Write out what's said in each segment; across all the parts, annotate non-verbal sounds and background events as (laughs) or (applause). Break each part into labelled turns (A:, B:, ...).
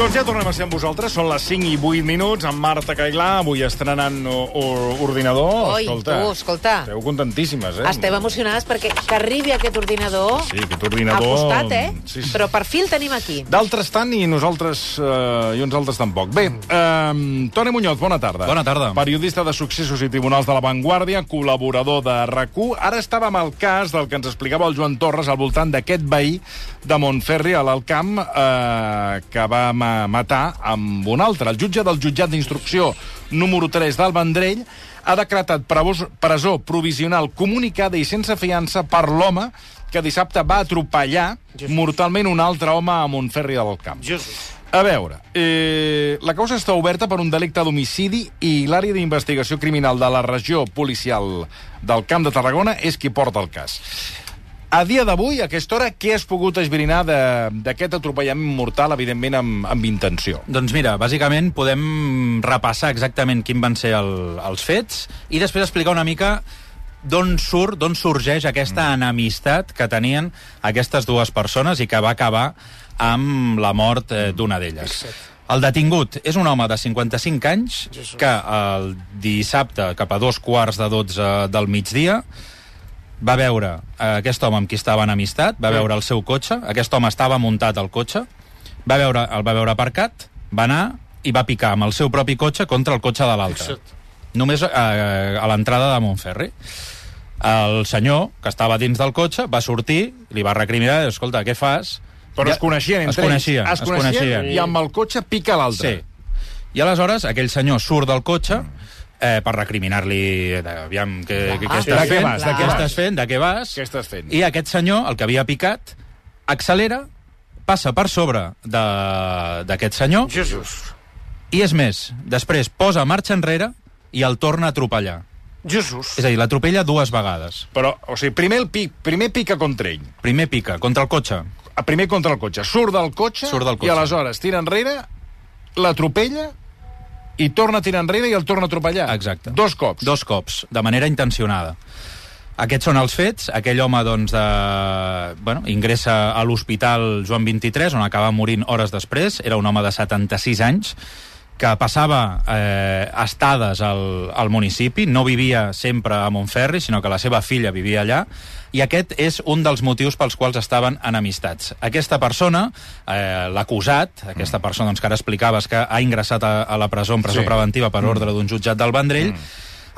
A: Doncs ja tornem a ser amb vosaltres. Són les 5 i 8 minuts amb Marta Cailà. Avui estrenant o, o, ordinador.
B: Oi,
A: escolta,
B: tu, escolta.
A: Esteu contentíssimes, eh?
B: Estem emocionades perquè que arribi aquest ordinador...
A: Sí, aquest ordinador-
B: Ha costat, eh?
A: Sí, sí.
B: Però per fi el tenim aquí.
A: D'altres tant i nosaltres eh, i uns altres tampoc. Bé, eh, Toni Muñoz, bona tarda.
C: Bona tarda.
A: Periodista de successos i tribunals de La Vanguardia, col·laborador de rac Ara estàvem al cas del que ens explicava el Joan Torres al voltant d'aquest veí de Montferri, a l'Alcamp, eh, que va ma- matar amb un altre. El jutge del jutjat d'instrucció número 3 del Vendrell ha decretat prevos- presó provisional comunicada i sense fiança per l'home que dissabte va atropellar mortalment un altre home a Montferri del Camp. A veure, eh, la causa està oberta per un delicte d'homicidi i l'àrea d'investigació criminal de la regió policial del Camp de Tarragona és qui porta el cas. A dia d'avui, a aquesta hora, què has pogut esbrinar de- d'aquest atropellament mortal, evidentment amb, amb intenció?
C: Doncs mira, bàsicament podem repassar exactament quin van ser el, els fets i després explicar una mica d'on surt, d'on sorgeix aquesta enemistat que tenien aquestes dues persones i que va acabar amb la mort eh, d'una d'elles. El detingut és un home de 55 anys que el dissabte cap a dos quarts de 12 del migdia va veure eh, aquest home amb qui estava en amistat,
A: Mm.
C: va veure el seu cotxe, aquest home estava muntat al cotxe, va veure, el va veure aparcat, va anar i va picar amb el seu propi cotxe contra el cotxe de l'altre. Només eh, a l'entrada de Montferri. El senyor, que estava dins del cotxe, va sortir, li va recriminar, escolta, què fas?
A: Però ja, es coneixien entre
C: es coneixien,
A: ells.
C: es coneixien.
A: I amb el cotxe pica l'altre. Mm.
C: Sí. I aleshores aquell senyor surt del cotxe eh, per recriminar-li eh, aviam què,
B: Clar.
C: què, què estàs
A: De què
C: fent,
A: vas, de què
C: què
A: vas?
C: estàs fent, de què vas.
A: Què estàs fent?
C: I aquest senyor, el que havia picat, accelera, passa per sobre de- d'aquest senyor
D: Jesús.
C: i és més, després posa marxa enrere i el torna a atropellar.
D: Jesús.
C: És a dir, l'atropella dues vegades.
A: Però, o sigui, primer, el pic, primer pica contra ell,
C: Primer pica, contra el cotxe.
A: a- primer contra el cotxe, surt del cotxe,
C: Surt del
A: i
C: cotxe.
A: aleshores tira enrere, l'atropella, i torna a tirar enrere i el torna a atropellar.
C: Exacte.
A: Dos cops.
C: Dos cops, de manera intencionada. Aquests són els fets. Aquell home, doncs, de... bueno, ingressa a l'Hospital Joan 23, on acaba morint hores després. Era un home de 76 anys que passava eh, estades al, al municipi, no vivia sempre a Montferri, sinó que la seva filla vivia allà, i aquest és un dels motius pels quals estaven enemistats. Aquesta persona, eh, l'acusat, aquesta persona doncs, que ara explicaves que ha ingressat a, a la presó en presó
A: Sí.
C: sí. preventiva
E: Mm.
C: per ordre d'un jutjat del Vendrell,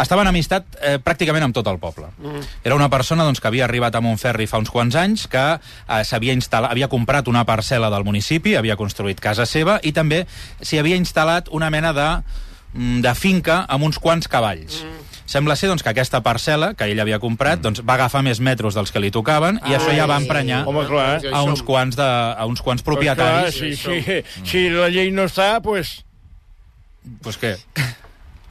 C: estava enemistat eh, pràcticament amb tot el poble. Mm. Era una persona doncs, que havia arribat a Montferri fa uns quants anys, que eh, s'havia instal·lat, havia comprat una parcel·la del municipi, havia construït casa seva i també s'hi havia instal·lat una mena de, mm, de finca amb uns quants cavalls. Mm. Sembla ser doncs, que aquesta parcel·la que ell havia comprat
E: Mm.
C: doncs, va agafar més metros dels que li tocaven i això ja va
B: Ai.
C: emprenyar
E: Home, clar,
D: Doncs
C: a uns quants, de, a uns quants propietaris.
E: Pues clar, si, si, si la llei no està, pues
C: pues què?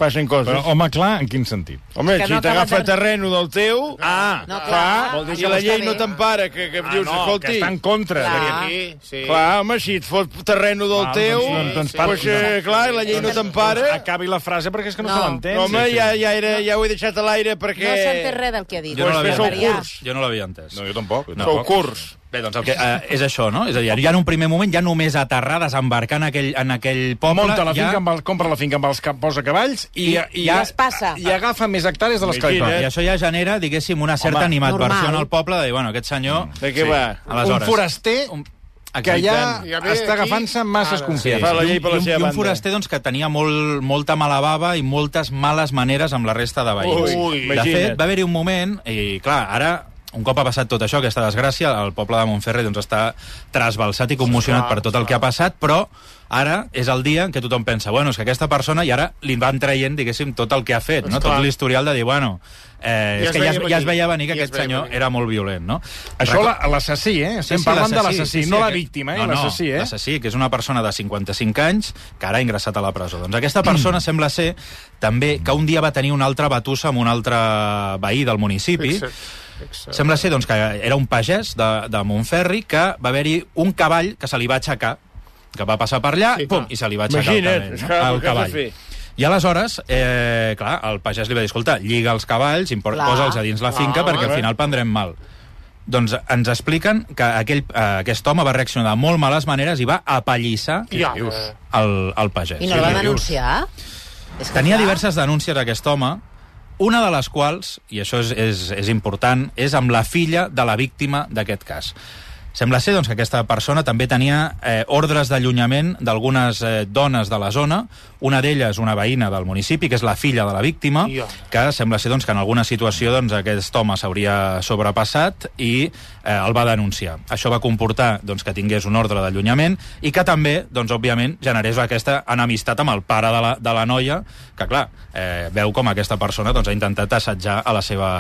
E: passen coses.
A: Però, home, clar, en quin sentit?
E: Home,
B: Que
E: si
B: no
E: t'agafa
B: acaben de-
E: terreno del teu... Ah,
B: No, clar,
E: vol dir
B: això
E: que la
B: està
E: llei
B: bé.
E: no t'empara, que, que
C: Ah,
E: dius,
A: que
E: escolti...
A: està en contra.
B: Clar.
D: Sí, sí.
E: Clar, home, si et fot terreno del
A: Val,
E: teu...
A: doncs, doncs, doncs,
E: pues,
A: parla.
E: eh, clar, la llei no t'empara.
A: Acabi la frase perquè és que no,
B: No.
A: se l'entén.
E: No, home, ja, ja, era, ja ho he deixat a l'aire perquè...
B: No s'ha entès res del que ha dit. Doncs
C: Jo no
E: Pues
C: l'havia
E: fes-ho
C: entès.
E: curs.
C: Jo no l'havia entès.
A: jo tampoc. Jo
E: Feu curs.
C: Bé, doncs el que, eh, és això, no? És a dir, ja en un primer moment, ja només aterrar, desembarcar en aquell, en aquell poble...
A: Monta la
C: ja...
A: finca, amb el, compra la finca amb els cap, posa cavalls i, i,
B: ja es passa.
A: i agafa més hectàrees de les que li
E: Imagina't.
C: I
A: toquen.
C: això ja genera, diguéssim, una certa
A: Home,
C: animadversió
B: normal.
C: en el poble de dir, bueno, aquest senyor...
E: De què va?
A: Un
C: Aleshores,
A: foraster
C: un-
A: Mm. que
C: Exacte.
A: ja
D: Ja ve
A: està
D: aquí.
A: agafant-se masses
D: Ara.
C: Sí,
A: confiances.
E: Fa la llei per la
C: i un,
E: seva
C: i un
E: banda.
C: foraster doncs, que tenia molt, molta mala bava i moltes males maneres amb la resta de veïns.
E: Ui,
C: de
E: imagina't.
C: fet, va haver-hi un moment, i clar, ara un cop ha passat tot això, aquesta desgràcia, el poble de Montferri doncs, està trasbalsat i commocionat per tot el que ha passat, però ara és el dia en què tothom pensa, bueno, és que aquesta persona, i ara li van traient, diguéssim, tot el que ha fet, no? tot l'historial de dir, bueno, eh, ja
D: Ja es
C: és que ja,
D: veia
C: es- ja es
D: venir.
C: veia venir que
D: Ja es
C: aquest
D: veia
C: senyor
D: venir.
C: era molt violent, no?
A: Això la- l'assassí, eh? Estem parlant de l'assassí, no la
C: aquest-
A: víctima, eh?
C: No, no,
A: L'assassí, eh?
C: l'assassí, que és una persona de 55 anys que ara ha ingressat a la presó. Doncs aquesta persona (clears throat) sembla ser també que un dia va tenir una altra batussa amb un altre veí del municipi.
D: Fixa't, fixa't.
C: Sembla ser doncs, que era un pagès de, de Montferri que va haver-hi un cavall que se li va aixecar, que va passar per allà
D: Sí,
C: pum,
D: clar.
C: i se li va aixecar
E: Imagina't,
C: el,
E: és clar, el
C: cavall, no? el
E: que has de
C: cavall.
E: fer.
C: I aleshores, eh, clar, el pagès li va dir, escolta, lliga els cavalls, import-
B: Clar.
C: posa'ls a dins la finca
D: Clar,
C: perquè al
E: Ah, home.
C: final prendrem mal. Doncs ens expliquen que aquell, eh, aquest home va reaccionar de molt males maneres i va apallissar
E: Ja.
D: eh.
C: el, el pagès.
B: I no el va
E: dius.
B: denunciar? És que
C: Tenia
B: clar,
C: diverses denúncies aquest home, una de les quals, i això és, és, és important, és amb la filla de la víctima d'aquest cas. Sembla ser doncs, que aquesta persona també tenia eh, ordres d'allunyament d'algunes eh, dones de la zona. Una d'elles, una veïna del municipi, que és la filla de la víctima,
E: Ja.
C: que sembla ser doncs, que en alguna situació doncs, aquest home s'hauria sobrepassat i eh, el va denunciar. Això va comportar doncs, que tingués un ordre d'allunyament i que també, doncs, òbviament, generés aquesta enemistat amb el pare de la, de la noia, que, clar, eh, veu com aquesta persona doncs, ha intentat assetjar a la seva,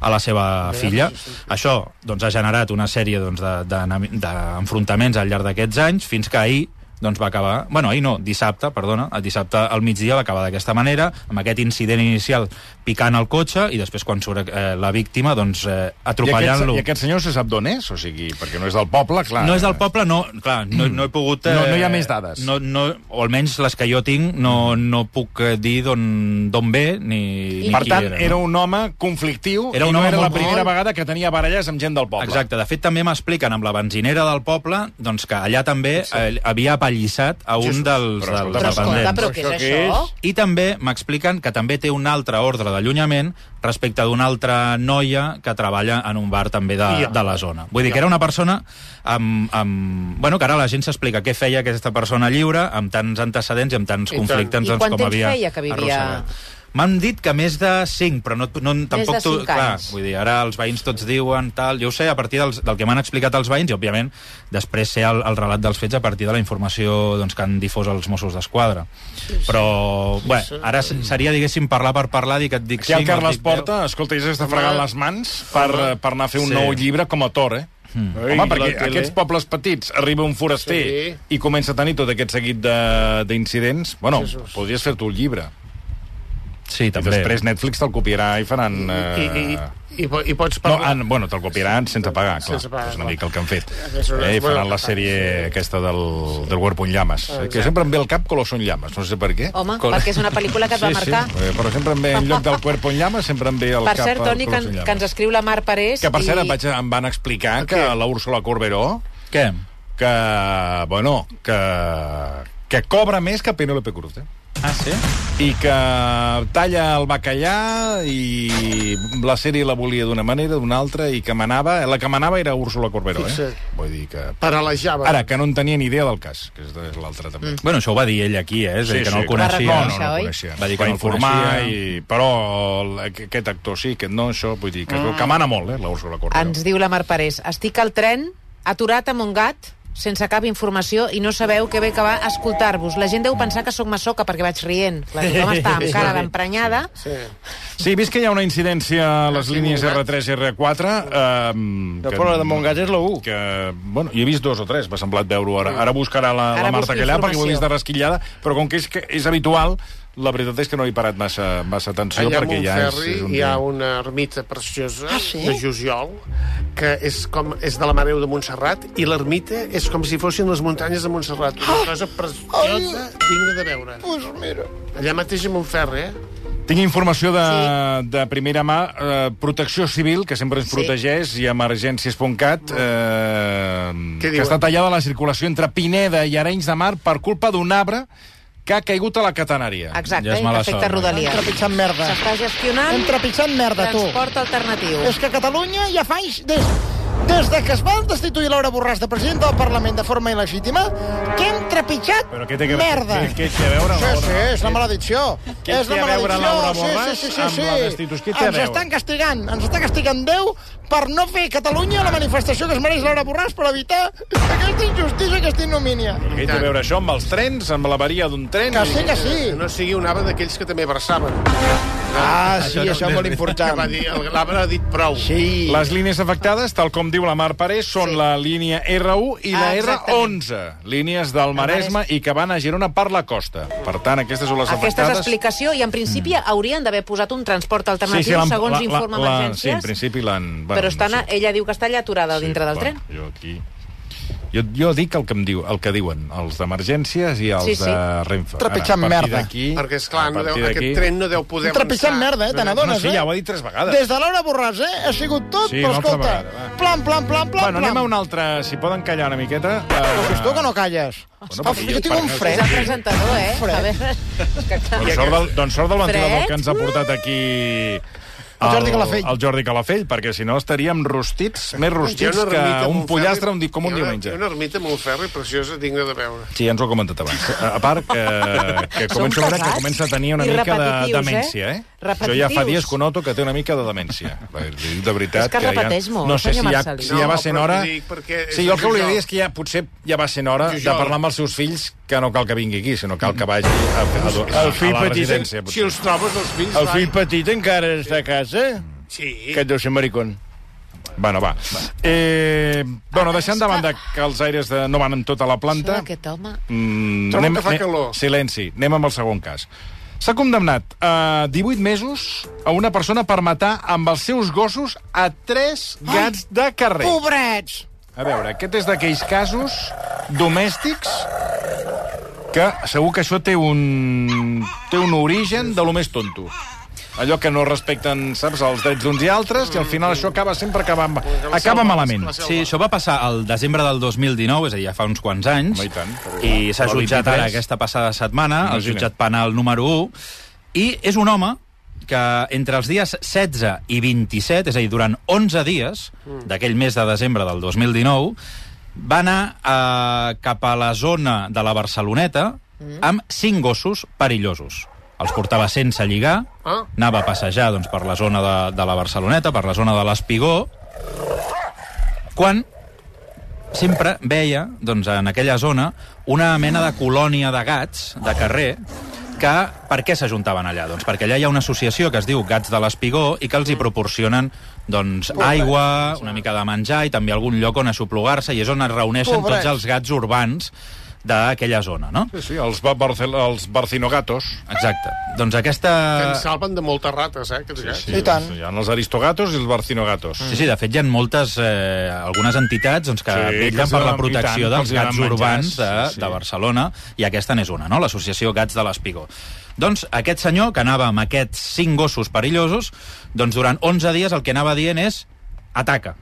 C: a la seva filla. Això doncs, ha generat una sèrie d'enfrontaments doncs, de, de, d'enfrontaments al llarg d'aquests anys, fins que ahir doncs va acabar... Bueno, ahir no, dissabte, perdona, el dissabte al migdia va acabar d'aquesta manera, amb aquest incident inicial picant el cotxe i després quan surt eh, la víctima, doncs eh,
A: I aquest,
C: atropellant-lo.
A: I aquest senyor se sap d'on és? O sigui, perquè no és del poble, clar.
C: No és del poble, no, clar, no, Mm. no he pogut... eh,
A: No- no hi ha més dades.
C: No, no, o almenys les que jo tinc no, no puc eh, dir d'on d'on ve ni, ni
A: Per
C: qui
A: tant,
C: era. no?
A: era un home conflictiu
C: Era un
A: i no
C: home
A: era la
C: molt-
A: primera
C: molt-
A: vegada que tenia baralles amb gent del poble.
C: Exacte, de fet també m'expliquen amb la benzinera del poble doncs que allà també eh, havia apallissat a un
A: Jesús,
C: dels,
A: però escolta,
C: dels
B: Però escolta,
C: dependents.
B: però què és
E: Això què
B: això?
E: és?
C: I també m'expliquen que també té un altre ordre d'allunyament respecte d'una altra noia que treballa en un bar també de,
E: Ja.
C: de la zona. Vull dir que era una persona amb... amb... Bueno, que ara la gent s'explica què feia aquesta persona lliure amb tants antecedents i amb tants
E: I tant.
C: conflictes
B: I
C: doncs,
B: quant
C: com
B: temps
C: havia
B: feia que vivia?
C: arrossegat. M'han dit que més de 5, però no, no tampoc...
B: de
C: tu-
B: cinc
C: clar,
B: anys.
C: vull dir, ara els veïns tots diuen tal... Jo ho sé a partir dels, del que m'han explicat els veïns i, òbviament, després sé el, el relat dels fets a partir de la informació doncs, que han difós els Mossos d'Esquadra. Però, bueno, ara se- seria, diguéssim, parlar per parlar, dir que et dic
A: Aquí el
C: cinc, et
A: Carles
C: dic deu.
A: Porta, escolta, ell s'està fregant les mans per, eh, per anar a fer un
C: Sí.
A: nou llibre com a Tor, eh?
E: Ei,
A: Home,
E: la
A: perquè
E: tele.
A: aquests pobles petits arriba un foraster
E: Sí.
A: i comença a tenir tot aquest seguit de- d'incidents. Bueno, podries fer tu el llibre.
C: Sí,
A: I
C: també.
A: després Netflix te'l copiarà i faran...
D: I, i,
A: Eh...
D: i, po- i pots
A: No,
D: parlar...
A: en, bueno, te'l copiaran sense pagar, clar.
D: Sense pagar,
A: és una
D: clar.
A: mica el que han fet.
D: És una-
A: Eh, I faran
D: bueno,
A: la sèrie aquesta del, del Huerpo en Llamas. eh, Que sempre em ve al cap Colosso en Llamas, no sé per què.
B: Home,
C: Col-
B: perquè és una pel·lícula que et va
C: Sí, sí.
B: marcar.
A: Eh, però sempre em ve, en lloc del Cuerpo en Llamas, sempre em ve al
B: Per
A: cap...
B: cert,
A: el
B: Toni, que,
A: Colosso en
B: que
A: Llamas.
B: ens escriu la Mar Parés...
A: Que, per
B: i-
A: cert, em, vaig, em van explicar que la Úrsula Corberó,
C: Què?
A: que, bueno, que, que cobra més que Penélope Cruz, eh?
C: Ah, sí?
A: i que talla el bacallà i la sèrie la volia d'una manera, d'una altra, i que manava... La que manava era Úrsula Corberó, eh?
D: Fixa't.
A: Vull dir que...
D: Per a la Java.
A: Ara, que no en tenia ni idea del cas, que és és l'altre també.
C: Bueno, això ho va dir ell aquí, eh? És a dir, que no el
A: clar. No,
C: coneixia.
A: no, no,
B: Això,
A: el
B: oi?
A: coneixia.
C: Va dir que
A: va
C: no el
A: informar,
C: coneixia.
A: i... però el- aqu- aquest actor sí, aquest no, això, vull dir, que, mm. que mana molt, eh, la Úrsula Corberó.
B: Ens diu la Mar Parés, estic al tren, aturat a Montgat, sense cap informació i no sabeu què ve que va escoltar-vos. La gent deu pensar que sóc massoca perquè vaig rient. La tothom està amb cara d'emprenyada.
D: Sí.
A: Sí, he vist que hi ha una incidència a les línies
D: Montgat.
A: R3 i R4. Eh,
E: De Pola de Montgat és la U.
A: Que, bueno, hi he vist dos o tres, m'ha semblat veure-ho ara. Ara buscarà la,
B: Ara
A: la Marta
B: busca
A: Callà perquè ho he
B: informació.
A: vist de rasquillada, però com que és, que és habitual, la veritat és que no he parat massa, massa atenció
D: Allà a
A: perquè ja és,
D: Montferri
A: és un
D: hi ha
A: dia.
D: una ermita preciosa
B: Ah, sí?
D: de Jusiol, que és, com, és de la Mareu de Montserrat, i l'ermita és com si fossin les muntanyes de Montserrat. Una cosa preciosa, digna de veure. Pues mira. Allà mateix a Montferri, eh?
A: Tinc informació de, sí. de primera mà. Eh, protecció Civil, que sempre ens
B: Sí.
A: protegeix, i emergències.cat, eh,
D: Què
A: que
D: diuen?
A: està tallada la circulació entre Pineda i Arenys de Mar per culpa d'un arbre que ha caigut a la catenària.
C: Ja
B: Exacte,
C: és
B: i
C: mala
B: efecte
C: sort, no?
B: rodalia.
F: trepitjant merda.
B: S'està gestionant
F: Hem trepitjat merda, tu.
B: transport alternatiu.
F: És que a Catalunya ja fa anys... Des, des de que es va destituir Laura Borràs de president del Parlament de forma il·legítima, que hem trepitjat
A: Però què té que,
F: merda.
A: Què, què té a veure?
F: Sí,
A: Laura?
F: sí, és la maledicció.
A: Què
F: és la
A: té a veure
F: maledicció.
A: Laura
F: sí,
A: Borràs
F: sí, sí, sí,
A: amb
F: sí.
A: la destitució? Què té a
F: Ens
A: veure?
F: estan castigant, ens està castigant Déu per no fer a Catalunya la manifestació que es mereix Laura Borràs per evitar aquesta injustícia, aquesta ignomínia.
A: Què té a veure això amb els trens, amb l'avaria d'un tren?
F: Que sí, que sí.
D: Que no sigui un arbre d'aquells que també versaven.
E: Ah, sí,
C: Això no
E: això és
C: és
E: molt
A: (laughs)
C: veritat.
D: Que va
E: important.
D: dir, el- l'arbre ha dit prou.
E: Sí.
A: Les línies afectades, tal com diu la Mar Parés, són
B: Sí.
A: la línia R1 i la
B: Ah, exactament.
A: R11, línies del Maresme i que van a Girona per la costa. Per tant, aquestes són les
B: Aquesta és
A: afectades.
B: l'explicació i en principi haurien d'haver posat un transport alternatiu
A: l'han-
B: segons informa
A: Sí, en
B: emergències,
A: principi l'han...
B: però estan,
A: no
B: a, ella diu que està allà aturada
A: sé.
B: dintre del
A: bueno,
B: tren.
A: Jo aquí... Jo, jo dic el que, em diu, el que diuen els d'emergències i els
B: Sí, sí.
A: de Renfe.
F: Trepitjant
A: Ara, a partir
F: merda.
A: d'aquí...
D: Perquè, esclar,
A: a
D: no deu,
A: partir d'aquí-
D: aquest tren no deu poder
F: Trepitjant
D: avançar.
F: merda, eh? Te
A: No,
F: n'adones,
A: sí,
F: eh?
A: ja ho ha dit tres vegades.
F: Des de Laura Borràs, eh? Ha sigut tot,
A: Sí,
F: però
A: una altra
F: escolta...
A: vegada, va.
F: plan, plan, plan, plan,
A: Bueno, anem
F: plan.
A: a un altre... Si poden callar una miqueta...
F: Però si
A: Eh,
F: és tu que no calles.
A: Bueno,
F: Bueno,
A: perquè
F: jo
A: jo-
F: tinc un
A: perquè-
F: fred.
B: És el presentador, eh?
F: Fred.
B: A veure... és que clar.
A: Doncs sort, del, doncs sort del ventilador
B: Fred?
A: que ens ha portat aquí...
F: El Jordi Calafell.
A: El Jordi Calafell, perquè si no estaríem rostits, més
D: Hi ha
A: rostits
D: una
A: que
D: ermita a
A: un
D: Montferri-
A: pollastre un, di- com
D: hi
A: un
D: ha una-
A: diumenge.
D: Hi ha una ermita a Montferri preciosa, digna de veure.
A: Sí, ens ho ha comentat abans. A a part, que, que,
B: Som
A: començo a veure que
B: pesats
A: comença a tenir una
B: i
A: mica de
B: repetitius,
A: demència, eh?
B: eh?
A: Jo ja fa
B: Repetitius.
A: dies que noto que té una mica de demència. Li dic De veritat
B: És que repeteix
A: ja,
B: molt,
A: no sé si
B: senyor
A: ja,
B: Marcelí.
A: si ja va
D: No,
A: sent
D: però
A: hora...
D: t'ho dic perquè és
A: Sí, jo el que volia
D: Jujol.
A: dir és que ja potser ja va sent hora de
D: Jujol.
A: parlar amb els seus fills que no cal que vingui aquí, sinó cal que vagi a, a, a, a,
E: El fill
A: la
E: petit,
A: residència.
D: Si
A: potser.
D: els trobes, els fills...
E: El
D: va.
E: fill petit encara està a casa?
D: Sí.
E: Que deu ser maricón.
A: Bueno, va. Eh, bueno, deixant de banda que els aires de, no van en tota la
B: Això
A: planta...
B: d'aquest home...
A: Mm,
D: Trobo que fa calor.
A: Silenci, anem amb el segon cas. S'ha condemnat a 18 mesos a una persona per matar amb els seus gossos a 3 gats de carrer.
F: Pobrets!
A: A veure, aquest és d'aquells casos domèstics que segur que això té un, té un origen de lo més tonto. Allò que no respecten, saps, els drets d'uns i altres, i al final això acaba sempre acabant, acaba malament.
C: Sí, això va passar al desembre del 2019, és a dir, ja fa uns quants anys.
A: Home, i tant.
C: I s'ha
A: Però
C: jutjat
A: 23.
C: ara aquesta passada setmana, al
A: Imagina't.
C: jutjat penal número 1, i és un home que entre els dies 16 i 27, és a dir, durant 11 dies
A: Mm.
C: d'aquell mes de desembre del 2019, va anar eh, cap a la zona de la Barceloneta
A: Mm.
C: amb cinc gossos perillosos. Els portava sense lligar,
D: Ah.
C: anava a passejar doncs, per la zona de, de la Barceloneta, per la zona de l'Espigó, quan sempre veia, doncs, en aquella zona, una mena de colònia de gats de carrer que per què s'ajuntaven allà? Doncs perquè allà hi ha una associació que es diu Gats de l'Espigó i que els hi proporcionen doncs, aigua, una mica de menjar i també algun lloc on aixoplugar-se i és on es reuneixen
F: Pobrets.
C: tots els gats urbans d'aquella zona, no?
A: Sí, sí, els, ba- Barcel els barcinogatos.
C: Exacte. Doncs aquesta...
D: Que
A: eh,
D: ens salven de moltes rates, eh, aquests gats.
F: I tant.
A: Hi ha els aristogatos i els barcinogatos.
C: Sí, sí, de fet hi ha moltes, eh, algunes entitats doncs, que
A: Sí,
C: sí,
A: que
C: vetllen
A: els
C: per la
A: donen-
C: protecció
A: i tant, que els
C: dels gats
A: donen menjars,
C: urbans de,
A: sí,
C: sí,
A: sí.
C: sí. de Barcelona, i aquesta n'és una, no? l'associació Gats de l'Espigó. Doncs aquest senyor, que anava amb aquests cinc gossos perillosos, doncs durant 11 dies el que anava dient és ataca.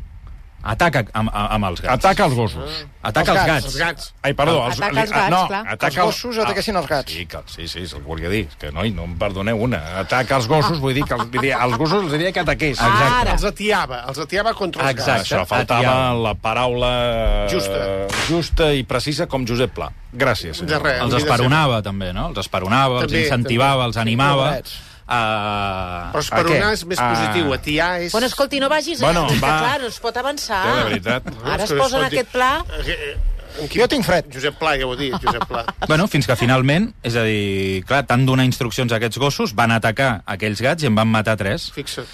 C: Ataca amb, amb, amb els gats.
A: Ataca els gossos.
C: Ataca els
F: Els
C: gats.
F: gats.
D: Els gats.
A: Ai, perdó. Els,
B: Ataca els gats,
A: no,
B: clar.
A: Ataca Ah,
F: Els gossos ataquessin els gats.
A: Sí, que, sí, sí, és el que volia dir. Que, noi, no em perdoneu una. Ataca els gossos, vull dir que els, diria, els gossos els diria que ataqués.
B: Exacte. Ara.
D: Els atiava, els atiava contra els
C: Exacte.
A: Això, faltava
C: Atiava.
A: la paraula... eh,
D: Justa.
A: Justa i precisa com Josep Pla. Gràcies.
D: gats.
A: senyor.
D: De res.
C: Els
D: ni de
C: esperonava, també, no? Els esperonava, els
D: També,
C: incentivava, els animava. Eh,
F: Pobrets.
D: ser.
C: Uh,
D: Però esperonar
A: A què?
D: és més
A: A-
D: positiu, atiar és...
B: Bueno, escolti, no vagis...
A: Bueno,
B: és que,
A: va.
B: Clar, no es pot avançar.
A: Ja, de veritat.
B: Ara es
D: Escolti,
B: posen
D: escolti.
B: aquest pla...
D: Eh, eh,
F: Jo tinc fred.
D: Josep Pla, ja ho he dit, Josep Pla.
C: Bueno, fins que finalment, és a dir, clar, tant donar instruccions a aquests gossos, van atacar aquells gats i en van matar tres.
D: Fixa't.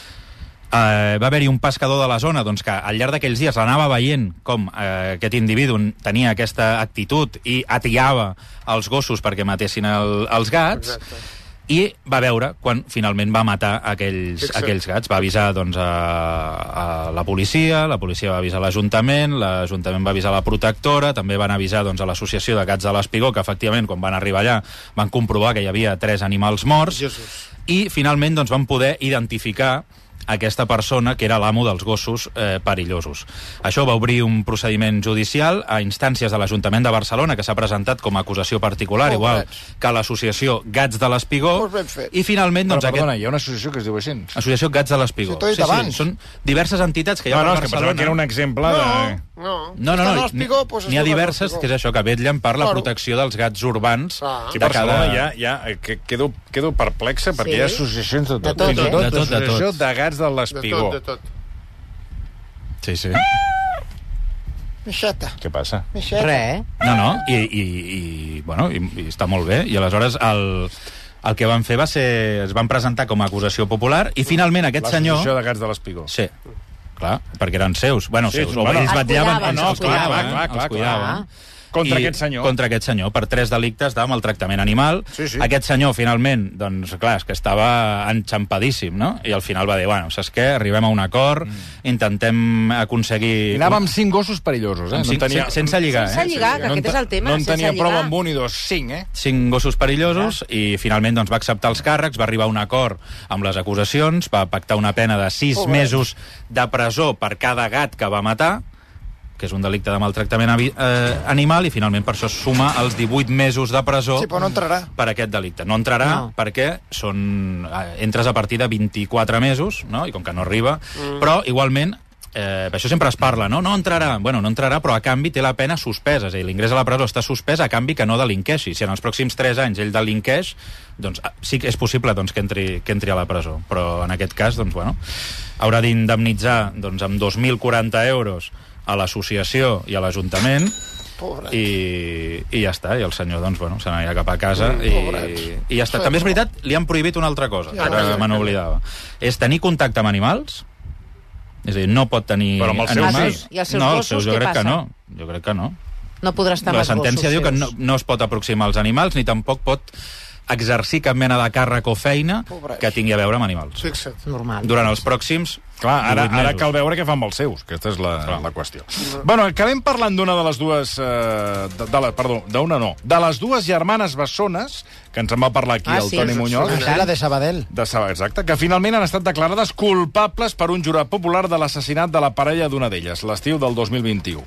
C: Eh, va haver-hi un pescador de la zona doncs, que al llarg d'aquells dies l'anava veient com eh, aquest individu tenia aquesta actitud i atiava els gossos perquè matessin el, els gats.
D: Exacte.
C: I va veure quan finalment va matar aquells,
D: Fixa't.
C: aquells gats. Va avisar doncs, a, a la policia, la policia va avisar l'Ajuntament, l'Ajuntament va avisar la protectora, també van avisar doncs, a l'Associació de Gats de l'Espigó, que efectivament quan van arribar allà van comprovar que hi havia tres animals morts
D: Jesús.
C: i finalment doncs, van poder identificar aquesta persona que era l'amo dels gossos eh, perillosos. Això va obrir un procediment judicial a instàncies de l'Ajuntament de Barcelona que s'ha presentat com a acusació particular,
F: Pobrets.
C: igual que l'associació Gats de l'Espigó
F: Molt ben fet.
C: i finalment
A: Però,
C: doncs,
A: perdona,
C: aquest...
A: hi ha una associació que es diu així. No,
C: Associació Gats de l'Espigó.
F: Sí, t'ho he dit abans.
C: són diverses entitats que Ah, hi ha
A: no, és
C: per
A: que pensava
C: Barcelona.
A: que era un exemple de...
D: No.
C: No, no,
F: Està
C: no,
F: a l'Espigó, doncs es
C: n'hi ha
F: diu Gats de
C: diverses,
F: l'Espigó.
C: que és això, que vetllen per la
F: Claro.
C: protecció dels gats urbans
D: Ah.
A: Aquí a
C: de cada...
A: Barcelona ja, ja eh, que- quedo, quedo perplexa perquè
B: Sí.
A: hi ha associacions de tot.
B: tot,
A: Fins i
B: eh?
A: tot
C: De tot, de tot.
A: d'associació de gats de
D: De
A: l'Espigó.
D: tot, de tot.
C: Sí,
F: Ah,
C: sí.
F: Mixeta,
A: Què passa?
F: mixeta.
B: Re, eh?
C: No, no, i, i, i, bueno, i, i està molt bé. I aleshores el, el que van fer va ser... Es van presentar com a acusació popular i finalment aquest senyor...
A: L'associació de gats de l'Espigó.
C: Sí, clar, perquè eren seus. Bueno,
A: Sí,
C: seus,
A: sí, Ah,
C: o
A: bueno.
C: ells
B: Els
C: vetllaven...
B: cuidaven,
C: no,
B: els
C: els cuidaven,
A: cuidaven,
C: eh?
A: clar, clar,
C: Els cuidaven.
B: clar.
A: Contra aquest senyor.
C: Contra aquest senyor, per tres delictes de maltractament animal.
D: Sí, sí.
C: Aquest senyor, finalment, doncs, clar, és que estava enxampadíssim, no? I al final va dir, bueno, saps què? Arribem a un acord,
A: Mm.
C: intentem aconseguir...
A: I anava amb cinc gossos perillosos, eh?
C: Amb cinc- sen- sense lligar,
B: Sense
C: eh?
B: lligar, que
A: no en
B: aquest és el tema.
A: No en
B: sense
A: tenia prou
B: lligar.
A: amb un i dos, cinc, eh?
C: cinc gossos perillosos i finalment doncs, va acceptar els càrrecs, va arribar a un acord amb les acusacions, va pactar una pena de sis mesos de presó per cada gat que va matar, que és un delicte de maltractament avi- eh, animal, i finalment per això es suma els 18 mesos de presó
F: Sí, però no entrarà.
C: per aquest delicte. No entrarà
B: No.
C: perquè són, eh, entres a partir de 24 mesos, no? i com que no arriba, mm. però igualment Eh, això sempre es parla, no? No entrarà. Bueno, no entrarà, però a canvi té la pena suspesa. És a dir, l'ingrés a la presó està suspès a canvi que no delinqueixi. Si en els pròxims 3 anys ell delinqueix, doncs ah, sí que és possible doncs, que, entri, que entri a la presó. Però en aquest cas, doncs, bueno, haurà d'indemnitzar doncs, amb 2.040 euros a l'associació i a l'Ajuntament
F: Pobre.
C: i, i ja està, i el senyor doncs, bueno, se n'anirà cap a casa i, i ja està. També és veritat, li han prohibit una altra cosa, que me n'oblidava. És tenir contacte amb animals, és a dir, no pot tenir
A: Però amb els seus
C: animals.
B: sí. I els seus
C: no,
B: gossos, què
C: jo crec
B: passa?
C: que no. Jo crec que no.
B: No podrà estar amb
C: La
B: els
C: sentència
B: gossos
C: diu que
B: seus.
C: no, no es pot aproximar als animals ni tampoc pot exercir cap mena de càrrec o feina
F: Pobrets.
C: que tingui a veure amb animals.
D: Fixa't.
B: Normal.
C: Durant els pròxims
A: Clar, ara,
C: 18
A: ara
C: mesos.
A: cal veure què fan amb els seus, aquesta és la, la qüestió. Bueno, acabem parlant d'una de les dues... Eh, de, de la, perdó, d'una no. De les dues germanes bessones, que ens en va parlar aquí
B: Ah,
A: el
B: sí.
A: Toni Muñoz,
B: Sí,
F: la de Sabadell.
A: de Saba, exacte, que finalment han estat declarades culpables per un jurat popular de l'assassinat de la parella d'una d'elles, l'estiu del 2021.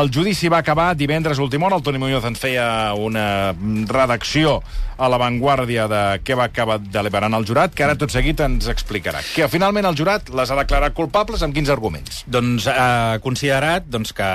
A: El judici va acabar divendres a última hora. El Toni Muñoz ens feia una redacció a l'avantguàrdia de què va acabar deliberant el jurat, que ara tot seguit ens explicarà. Que finalment el jurat les ha declarat culpables amb quins arguments?
C: Doncs ha considerat doncs, que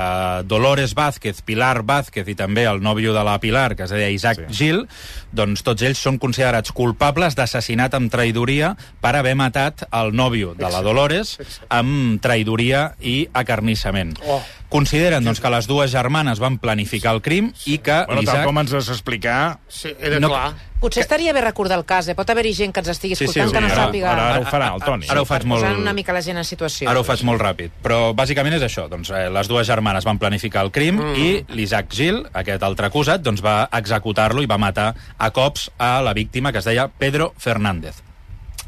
C: Dolores Vázquez, Pilar Vázquez i també el nòvio de la Pilar, que es deia Isaac sí. Gil, doncs tots ells són considerats culpables d'assassinat amb traïdoria per haver matat el nòvio de la Dolores amb traïdoria i acarnissament.
D: Oh.
C: Consideren doncs, que les dues germanes van planificar el crim i que
A: Bueno, tal
C: l'Isaac...
A: com ens vas explicar...
D: Sí, era
C: No-
D: no. clar.
B: Potser estaria bé recordar el cas, eh? Pot haver-hi gent que ens estigui escoltant que no
A: ara-
B: sàpiga...
A: ara- ara ho farà, el Toni.
C: Ara ho faig molt...
B: Posant una mica la gent en situació.
C: Ara ho faig molt ràpid, però bàsicament és això. Doncs, eh, les dues germanes van planificar el crim mm. i l'Isaac Gil, aquest altre acusat, doncs, va executar-lo i va matar a cops a la víctima, que es deia Pedro Fernández.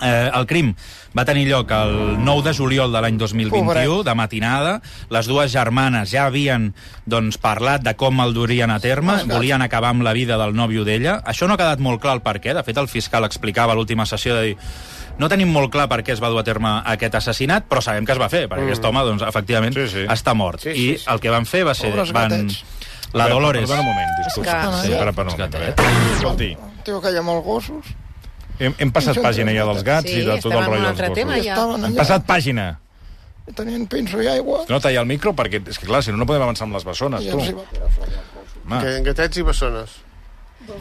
C: Eh, el crim va tenir lloc el 9 de juliol de l'any 2021,
F: Pobret.
C: de matinada. Les dues germanes ja havien doncs, parlat de com el durien a terme, volien acabar amb la vida del nòvio d'ella. Això no ha quedat molt clar el per què. De fet, el fiscal explicava a l'última sessió de dir no tenim molt clar per què es va dur a terme aquest assassinat, però sabem que es va fer, perquè mm. aquest home, doncs, efectivament,
A: Sí, sí.
C: està mort.
D: Sí,
C: Sí,
D: sí,
C: sí, I el que van fer va ser...
F: Pobres
C: van...
F: gatets.
C: La Dolores...
A: Perdona un moment, disculpa.
B: És
A: Que...
B: que-
A: Sí, para, para, un moment. a
C: eh?
A: veure. Escolti,
F: Tio, que hi ha molts gossos.
A: hem, hem passat pàgina ja dels gats
B: Sí,
A: i de tot el
B: estem en un
A: rotllo dels
B: altre tema,
A: gossos.
B: ja.
F: Estaven
A: Hem
F: allà,
A: passat pàgina.
F: tenien pinso i aigua.
A: No talla el micro perquè, és que clar, si no, no podem avançar amb les bessones,
F: I
A: tu.
F: els hi va
A: Home,
C: Ah.
D: Que gatets i bessones.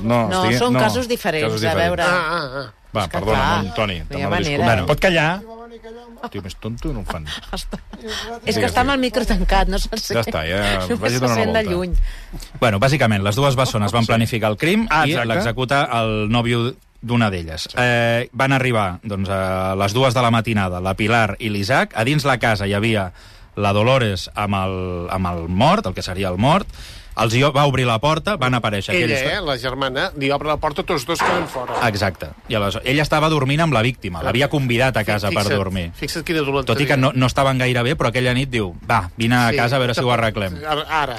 A: no,
B: No,
A: estigui-
B: són casos diferents, a veure.
D: Ah, ah, ah.
A: Va,
B: que
A: perdona,
B: clar,
A: no, Toni,
B: no hi ha
A: demano
B: manera.
A: disculpa.
B: Bueno.
A: Pot callar?
F: venir callar, home.
A: Tio, més tonto no em fan.
B: ah. És que està amb el micro tancat, no se'n sent.
A: Ja està,
B: (laughs)
A: ja
B: Només
A: vagi
B: se
A: donant
B: sent
A: una
B: de
A: volta.
B: lluny.
C: Bueno, bàsicament, les dues bessones van planificar el crim
A: Ah,
C: i
A: exacte.
C: l'executa el nòvio d'una d'elles. Eh, van arribar doncs, a les dues de la matinada, la Pilar i l'Isaac. A dins la casa hi havia la Dolores amb el, amb el mort, el que seria el mort. Els hi va obrir la porta, van aparèixer
D: Ella,
C: aquells...
D: eh, la germana, li obre la porta, tots dos queden fora.
C: Exacte. I aleshores, ella estava dormint amb la víctima, l'havia convidat a casa per
D: Fixa't-
C: dormir.
D: Fixa't quina dolenteria.
C: Tot i que no, no estaven gaire bé, però aquella nit diu, va, vine a
D: Sí.
C: casa a veure si ho arreglem.
D: Ara- Ara.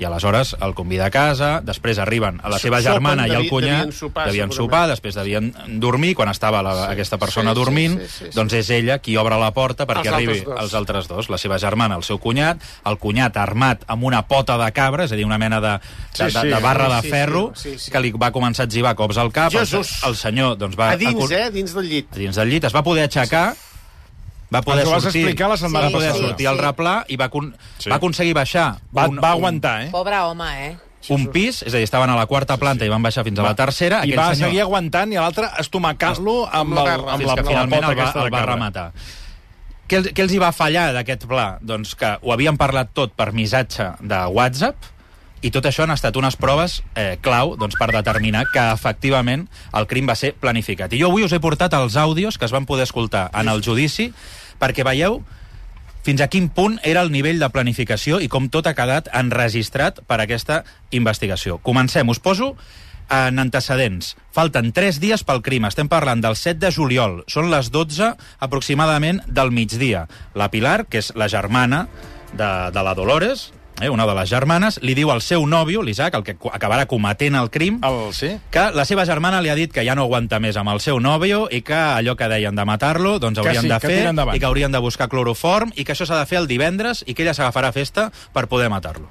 C: I aleshores el convida a casa, després arriben a la seva
D: Sopen,
C: germana i el
D: devi-
C: cunyat,
D: devien sopar,
C: devien
D: segurament.
C: sopar, després devien dormir, quan estava la, sí, aquesta persona
D: sí, sí,
C: dormint,
D: sí, sí, sí.
C: doncs és ella qui obre la porta perquè
D: Els altres
C: arribi
D: dos.
C: els altres dos, la seva germana, el seu cunyat, el cunyat armat amb una pota de cabra, és a dir, una mena de, de,
D: Sí,
C: de,
D: sí.
C: de barra de
D: Sí, sí,
C: ferro,
D: sí, sí.
C: que li va començar a etzibar cops al cap, el,
D: Jesús!
C: el senyor doncs, va...
D: A dins,
C: acor-
D: eh, dins del llit.
C: a dins del llit, es va poder aixecar, va poder
A: Ens ho vas
C: sortir,
A: explicar la setmana
C: va poder
B: passada.
C: sortir al
B: Sí.
C: replà i va, acon
A: Sí.
C: va aconseguir baixar
A: Va, va aguantar, eh?
B: Pobre home, eh?
C: un pis, és a dir, estaven a la quarta planta i van baixar fins a la tercera.
A: I
C: aquell
A: va
C: senyor-
A: seguir aguantant i l'altre estomacant-lo amb, el, amb,
C: fins
A: la,
C: que
A: amb la
C: finalment
A: pota
C: el va,
A: aquesta de
C: el va
A: cabra.
C: rematar. Què, els- què els hi va fallar d'aquest pla? Doncs que ho havien parlat tot per missatge de WhatsApp i tot això han estat unes proves eh, clau doncs, per determinar que efectivament el crim va ser planificat. I jo avui us he portat els àudios que es van poder escoltar en el judici perquè veieu fins a quin punt era el nivell de planificació i com tot ha quedat enregistrat per aquesta investigació. Comencem, us poso en antecedents. Falten 3 dies pel crim. Estem parlant del 7 de juliol. Són les 12 aproximadament del migdia. La Pilar, que és la germana de, de la Dolores, eh, una de les germanes, li diu al seu nòvio, l'Isaac, el que co- acabarà cometent el crim,
A: El, sí?
C: que la seva germana li ha dit que ja no aguanta més amb el seu nòvio i que allò que deien de matar-lo doncs
A: Que
C: haurien
A: sí,
C: de
A: que
C: fer
A: tira endavant.
C: i que haurien de buscar cloroform i que això s'ha de fer el divendres i que ella s'agafarà festa per poder matar-lo.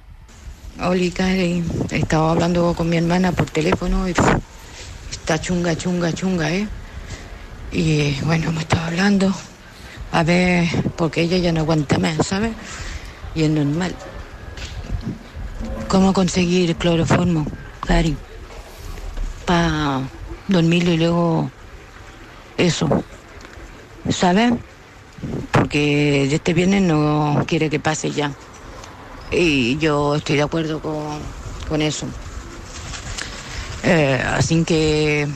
G: Oli, Cari, eh, estaba hablando con mi hermana por teléfono y pf, está chunga, chunga, chunga, ¿eh? Y eh, bueno, hemos estado hablando, a ver, porque ella ya no aguanta más, ¿sabes? Y es normal. ¿Cómo conseguir cloroformo, Cari? Para dormirlo y luego eso, ¿sabes? Porque este viernes no quiere que pase ya. Y yo estoy de acuerdo con, con eso. Eh, así que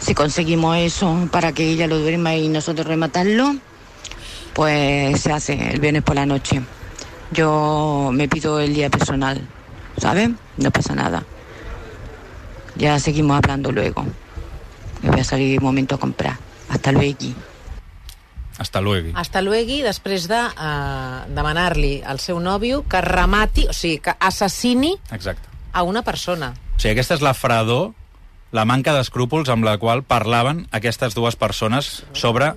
G: si conseguimos eso para que ella lo duerma y nosotros rematarlo, pues se hace el viernes por la noche. Yo me pido el día personal, ¿sabes? No pasa nada. Ya seguimos hablando luego. Me voy a salir un momento a comprar. Hasta luego.
C: Hasta luego.
B: Hasta luego, després de uh, demanar-li al seu nòvio que remati, o sigui, que assassini
C: Exacte.
B: a una persona.
C: O sigui, aquesta és la fredor, la manca d'escrúpols amb la qual parlaven aquestes dues persones sobre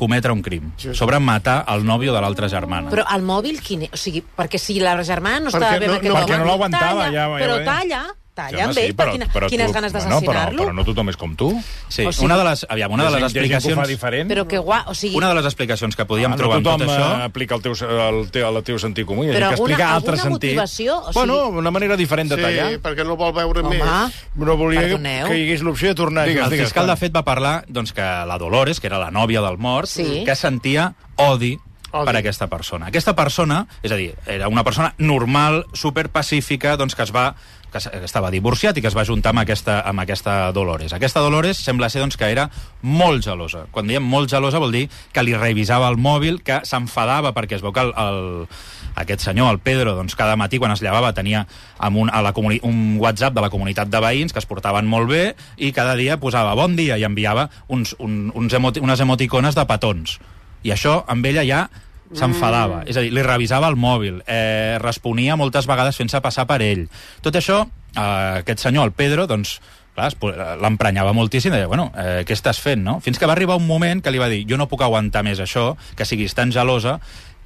C: cometre un crim, sobre matar el nòvio de l'altra germana.
B: Però el mòbil, quin és? O sigui, perquè si la germana no
D: Perquè
B: estava bé amb
D: no-
B: aquest
D: no-
B: home...
A: perquè no l'aguantava,
B: talla,
A: ja- ja
B: Però
A: ho he dit.
B: talla, talla amb ell, per quina, quines ganes
A: Bueno, però,
B: d'assassinar-lo.
A: però no tothom és com tu.
C: Sí,
B: o sigui-
C: una de les, aviam, una de
A: Hi
C: les
A: ha gent que ho fa
C: explicacions...
A: diferent.
B: Però que guà, o sigui...
C: Una de les explicacions que podíem
A: Ah, no
C: trobar en
A: tothom
C: tot això...
A: eh, aplica el teu, el, teu, el teu sentit comú, hi ha
B: Però
A: gent que
B: alguna-
A: explica altre
B: alguna
A: sentit.
B: motivació, o sigui-
A: Bueno, una manera diferent de tallar.
D: Sí, perquè no el vol veure
B: Home,
D: més.
E: Però volia que,
B: Perdoneu.
E: que hi hagués l'opció de tornar.
A: Digues,
C: El
A: digues.
C: fiscal, de fet, va parlar doncs, que la Dolores, que era la nòvia del mort,
B: Sí.
C: que sentia odi
D: Odi.
C: per aquesta persona. Aquesta persona, és a dir, era una persona normal, superpacífica, doncs que es va que s- que estava divorciat i que es va juntar amb aquesta, amb aquesta Dolores. Aquesta Dolores sembla ser doncs, que era molt gelosa. Quan diem molt gelosa vol dir que li revisava el mòbil, que s'enfadava perquè es veu que el, el, aquest senyor, el Pedro, doncs, cada matí quan es llevava tenia amb un, a la comuni- un WhatsApp de la comunitat de veïns que es portaven molt bé i cada dia posava bon dia i enviava uns, un, uns emoti unes emoticones de petons. I això amb ella ja s'enfadava. És a dir, li revisava el mòbil, eh, responia moltes vegades fent-se passar per ell. Tot això, eh, aquest senyor, el Pedro, doncs, clar, es po- eh, l'emprenyava moltíssim, deia, bueno, eh, què estàs fent, no? Fins que va arribar un moment que li va dir, jo no puc aguantar més això, que siguis tan gelosa,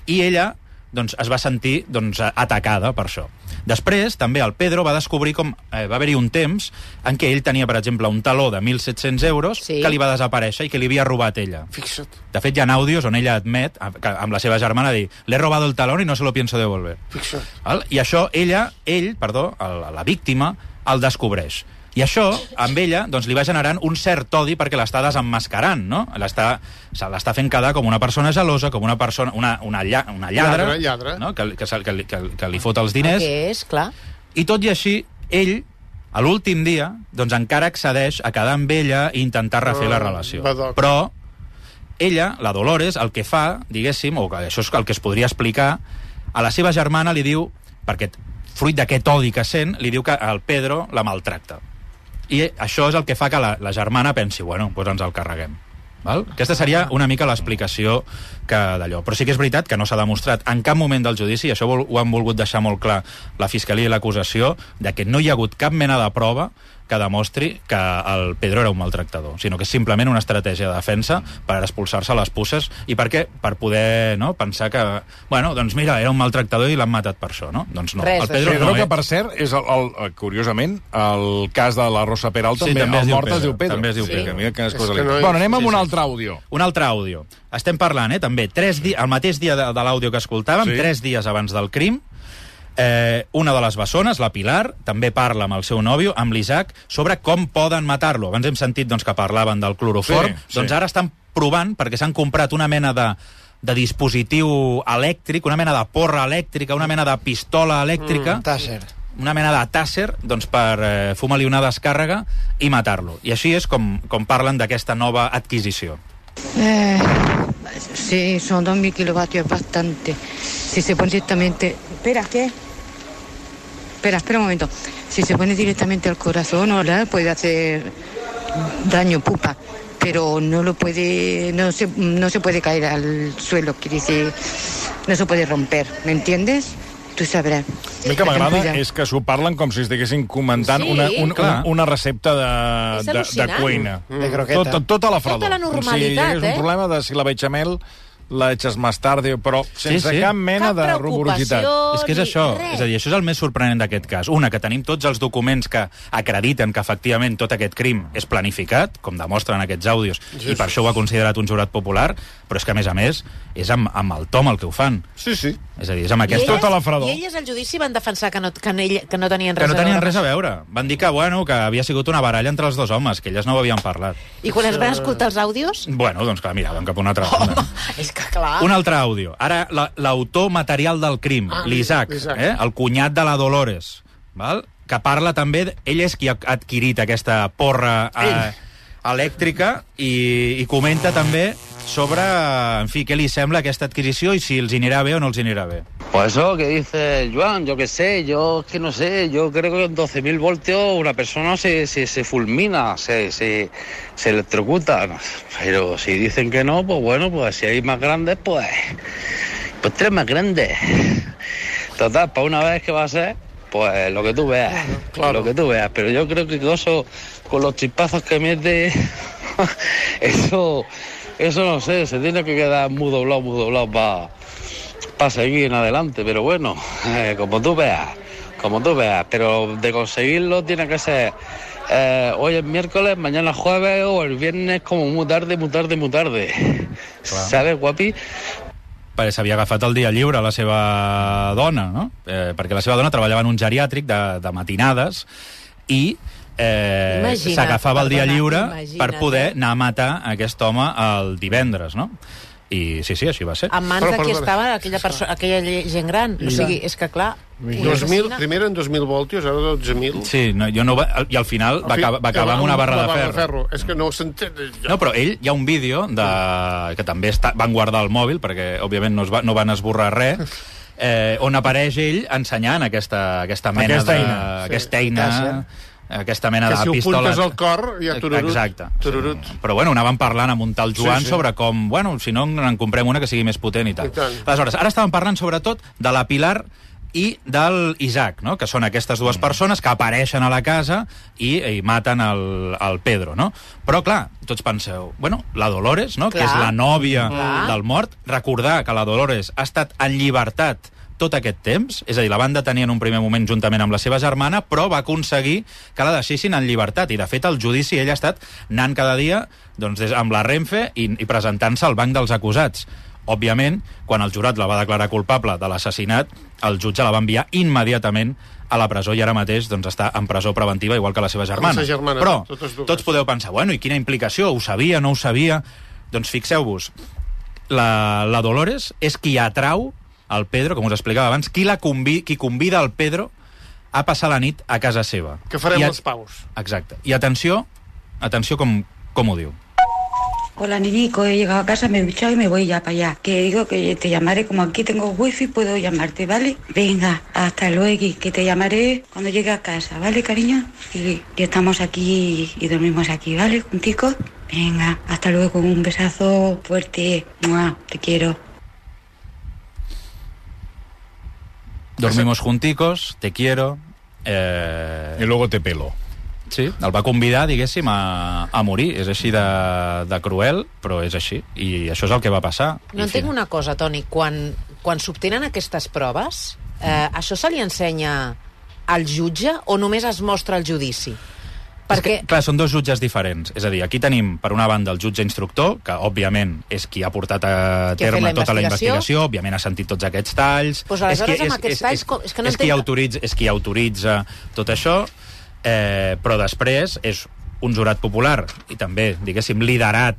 C: i ella doncs, es va sentir doncs, a- atacada per això. Després, també el Pedro va descobrir com eh, va haver-hi un temps en què ell tenia, per exemple, un taló de 1.700 euros
B: Sí.
C: sí. que li va desaparèixer i que li havia robat ella.
D: Fixa't,
C: De fet, hi ha àudios on ella admet, a- que- amb la seva germana, dir «l'he robado el talón y no se lo pienso devolver».
D: fixa't.
C: Val? I això, ella, ell, perdó, el, la víctima, el descobreix. I això, amb ella, doncs, li va generant un cert odi perquè l'està desenmascarant, no? L'està se l'està fent quedar com una persona gelosa, com una persona, una, una, lla, una lladra,
D: Lladre, lladre.
C: No? Que, que, se- que, li- que, que li fot els
B: El
C: diners.
B: que és, clar.
C: I tot i així, ell, a l'últim dia, doncs encara accedeix a quedar amb ella i intentar refer
D: Ah,
C: la relació.
D: badoc.
C: Però ella, la Dolores, el que fa, diguéssim, o que això és el que es podria explicar, a la seva germana li diu, perquè fruit d'aquest odi que sent, li diu que el Pedro la maltracta. I això és el que fa que la, la germana pensi, bueno, doncs ens el carreguem. Val? Aquesta seria una mica l'explicació que d'allò. Però sí que és veritat que no s'ha demostrat en cap moment del judici, i això vol- ho han volgut deixar molt clar la Fiscalia i l'acusació, de que no hi ha hagut cap mena de prova que demostri que el Pedro era un maltractador, sinó que és simplement una estratègia de defensa per expulsar-se a les puces i per què? Per poder no, pensar que, bueno, doncs mira, era un maltractador i l'han matat per això, no? Doncs no,
B: Res
C: el
B: d'això.
C: Pedro,
A: Pedro,
C: no,
A: que
C: eh?
A: per cert, és el, el, eh, curiosament, el cas de la Rosa Peralta,
C: Sí, també
A: el
C: es diu
A: mort es
C: Pedro,
A: diu Pedro.
C: també es diu
A: Sí,
C: Pedro.
A: que Mira quines
D: És
A: coses
D: que
A: li...
D: no és-
A: Bueno, anem
D: sí,
A: amb un
D: sí.
A: altre àudio.
C: Un altre àudio. Estem parlant, eh, també, tres di el mateix dia de, de l'àudio que escoltàvem,
A: Sí.
C: sí. tres dies abans del crim, eh, una de les bessones, la Pilar, també parla amb el seu nòvio, amb l'Isaac, sobre com poden matar-lo. Abans hem sentit doncs, que parlaven del cloroform,
A: Sí,
C: sí,
A: sí.
C: sí. doncs ara estan provant, perquè s'han comprat una mena de de dispositiu elèctric, una mena de porra elèctrica, una mena de pistola elèctrica... Mm,
E: Tàsser.
C: una mena de tàsser doncs, per eh, fumar-li una descàrrega i matar-lo. I així és com, com parlen d'aquesta nova adquisició.
G: Eh, Sí, son 2.000 kilovatios, es bastante. Si se pone directamente... Espera, ¿qué? Espera, espera un momento. Si se pone directamente al corazón, ahora puede hacer daño, pupa, pero no lo puede, no se, no se puede caer al suelo, quiere decir, no se puede romper, ¿me entiendes? Tú sabrás.
A: A mi que
G: Ten
A: m'agrada
G: cuidado.
A: és que s'ho parlen com si estiguessin comentant
B: Sí,
A: una, un, una,
C: clar.
A: una recepta de,
B: És
A: de, de
B: al·lucinant. Mm.
A: cuina.
F: De croqueta.
A: Tota, tota la fredor.
B: Tota la
A: Com si hi
B: normalitat,
A: hagués
B: eh?
A: un problema de si la bechamel la eches más tarde, però sense
C: sí.
A: cap mena
B: Cap
A: de
B: preocupació.
A: ruborositat.
C: És que és
B: ni
C: això,
B: res.
C: és a dir, això és el més sorprenent d'aquest cas. Una, que tenim tots els documents que acrediten que efectivament tot aquest crim és planificat, com demostren aquests àudios, i per això ho ha considerat un jurat popular, però és que, a més a més, és amb, amb el tom el que ho fan.
A: Sí, sí.
C: És a dir, és amb
B: I
C: aquest...
A: tota la fredor.
B: I elles al judici van defensar que no, que no, que no tenien res
C: Que no tenien
B: a veure.
C: res a veure. Van dir que, bueno, que havia sigut una baralla entre els dos homes, que elles no ho havien parlat.
B: I quan es van escoltar els àudios... (laughs)
C: Bueno, doncs clar, miraven cap a una altra banda.
B: Home, és que clar...
C: Un altre àudio. Ara, la- l'autor material del crim, ah, l'Isaac,
D: l'Isaac.
C: eh? el cunyat de la Dolores, val? que parla també... d- Ell és qui ha adquirit aquesta porra eh, elèctrica i, i comenta també sobre, en fi, què li sembla aquesta adquisició i si els hi anirà bé o no els hi anirà bé.
H: Pues eso que dice Joan, yo qué sé, yo es que no sé, yo creo que con 12.000 voltios una persona se, se, se fulmina, se, se, se electrocuta. Pero si dicen que no, pues bueno, pues si hay más grandes, pues, pues tres más grandes. Total, para una vez que va a ser, pues lo que tú veas, lo que tú veas. Pero yo creo que con eso, con los chispazos que mete, (laughs) eso, eso no sé, se tiene que quedar muy doblado, muy doblado para para seguir en adelante, pero bueno, eh, como tú veas, como tú veas, pero de conseguirlo tiene que ser eh, hoy es miércoles, mañana jueves o el viernes como muy tarde, muy tarde, muy tarde. ¿Sabes, guapi?
C: perquè s'havia agafat el dia lliure a la seva dona, no? Eh, perquè la seva dona treballava en un geriàtric de, de matinades i eh,
B: Imagina't,
C: s'agafava el dia
B: perdona,
C: lliure
B: imagina't,
C: per poder
B: eh?
C: anar a matar aquest home el divendres, no? I sí, sí, així va ser.
B: En mans
D: Però,
B: de qui
D: perdona.
B: estava aquella, perso- aquella lle- gent gran. O sigui, és que clar... una
D: 2.000,
B: assassina-
D: primer eren 2.000 voltios, ara 12.000.
C: Sí, no, jo no va, I al final va, acabar, va acabar amb una barra de ferro.
D: És que no s'entén.
C: No, però ell, hi ha un vídeo de... que també està... van guardar el mòbil, perquè, òbviament, no, es va... no van esborrar res, eh, on apareix ell ensenyant aquesta, aquesta mena
A: Aquesta
C: de...
A: eina.
C: Aquesta eina, aquesta mena
D: Que
C: de
D: si ho
C: pistola...
D: apuntes al cor, ja tururut.
C: Exacte.
D: Tururut.
C: Sí. Però, bueno, anaven parlant amb un tal Joan
D: sí.
C: sobre com, bueno, si no, en comprem una que sigui més potent i tal.
D: I tant.
C: Aleshores, ara estàvem parlant, sobretot, de la Pilar i del Isaac, no? que són aquestes dues persones que apareixen a la casa i, i maten el, el Pedro. No? Però, clar, tots penseu, bueno, la Dolores, no? que
B: Clar.
C: és la nòvia
B: Clar.
C: del mort, recordar que la Dolores ha estat en llibertat tot aquest temps, és a dir, la van detenir en un primer moment juntament amb la seva germana, però va aconseguir que la deixessin en llibertat, i de fet el judici ell ha estat anant cada dia doncs, des, amb la Renfe i, i presentant-se al banc dels acusats. Òbviament, quan el jurat la va declarar culpable de l'assassinat, el jutge la va enviar immediatament a la presó i ara mateix doncs, està en presó preventiva, igual que la seva germana.
D: seva germana,
C: Però
D: totes dues.
C: tots podeu pensar, bueno, i quina implicació? Ho sabia, no ho sabia? Doncs fixeu-vos, la, la Dolores és qui atrau el Pedro, com us explicava abans, qui, la convi, qui convida el Pedro a passar la nit a casa seva.
D: Que farem
C: I a-
D: les paus.
C: Exacte. I atenció, atenció com, com ho diu.
G: Hola, Ninico, he llegado a casa, me he duchado y me voy ya para allá. Que digo que te llamaré, como aquí tengo wifi, puedo llamarte, ¿vale? Venga, hasta luego, que te llamaré cuando llegue a casa, ¿vale, cariño? Y, y estamos aquí y dormimos aquí, ¿vale? Juntico. Venga, hasta luego, un besazo fuerte. Mua, te quiero.
C: Dormimos junticos, te quiero... Eh,
A: I luego te pelo.
C: Sí, el va convidar, diguéssim, a, a morir. És així de, de cruel, però és així. I això és el que va passar.
B: No
C: I fi.
B: entenc una cosa, Toni. Quan, quan s'obtenen aquestes proves, eh, això se li ensenya al jutge o només es mostra al judici? Perquè...
C: És que, clar, són dos jutges diferents. És a dir, aquí tenim, per una banda, el jutge instructor, que, òbviament, és qui ha portat a
B: Qui ha fet
C: terme
B: la
C: tota la
B: investigació.
C: investigació, òbviament ha sentit tots aquests talls...
B: Pues aleshores,
C: és qui-
B: amb aquests talls, com- és que no
C: és, qui
B: entenc-
C: autoritza, és qui autoritza tot això, eh, però després és un jurat popular i també, diguéssim, liderat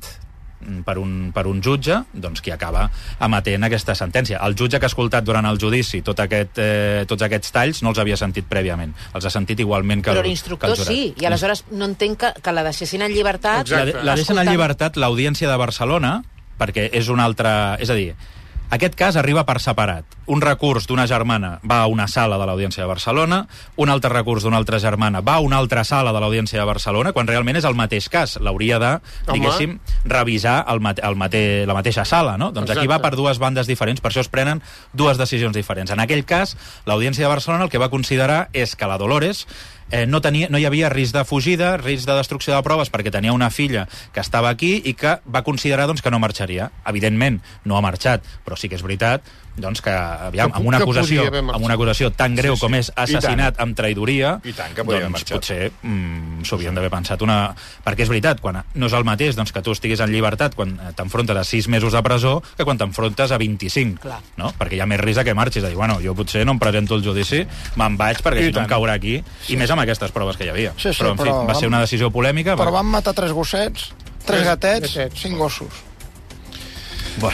C: mm, per un, per un jutge doncs, qui acaba emetent aquesta sentència. El jutge que ha escoltat durant el judici tot aquest, eh, tots aquests talls no els havia sentit prèviament. Els ha sentit igualment que
B: Però
C: el- que el
B: l'instructor
C: jurat.
B: sí, i aleshores no entenc que, que la deixessin en llibertat.
D: Exacte.
C: La, la deixen en
B: escoltant-
C: llibertat l'Audiència de Barcelona perquè és un altre... És a dir, aquest cas arriba per separat. Un recurs d'una germana va a una sala de l'Audiència de Barcelona, un altre recurs d'una altra germana va a una altra sala de l'Audiència de Barcelona, quan realment és el mateix cas. L'hauria de,
D: Home.
C: diguéssim, revisar el mate, el mate, la mateixa sala, no? Doncs aquí va
D: Exacte.
C: per dues bandes diferents, per això es prenen dues decisions diferents. En aquell cas, l'Audiència de Barcelona el que va considerar és que la Dolores eh, no, tenia, no hi havia risc de fugida, risc de destrucció de proves, perquè tenia una filla que estava aquí i que va considerar doncs, que no marxaria. Evidentment, no ha marxat, però sí que és veritat doncs, que, aviam,
D: Que-
C: amb, una
D: que podia
C: acusació,
D: haver marxat.
C: amb una acusació tan greu
A: Sí,
C: sí,
A: sí.
C: sí. com és
A: I tant.
C: assassinat amb traïdoria,
A: I tant, que podia haver
C: doncs,
A: marxat.
C: potser mm, s'ho havien d'haver pensat una... Perquè és veritat, quan no és el mateix doncs, que tu estiguis en llibertat quan eh, t'enfrontes a 6 mesos de presó que quan t'enfrontes a 25,
B: Clar.
C: no? Perquè hi ha més risc de que marxis, de dir, bueno, jo potser no em presento al judici, me'n vaig perquè
A: I
C: si no
A: tant.
C: em caurà aquí, i més amb aquestes proves que hi havia.
F: Sí, sí,
C: però, en fi,
F: però
C: va
F: vam-
C: ser una decisió polèmica.
F: Però
C: va-
F: van matar tres gossets, tres
D: Tres
F: gatets,
D: gatets.
F: cinc gossos.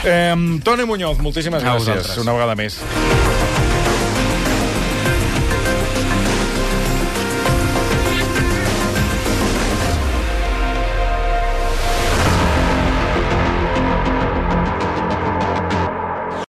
A: Eh, Toni Muñoz, moltíssimes
C: A
A: gràcies.
C: vosaltres.
A: Una vegada més.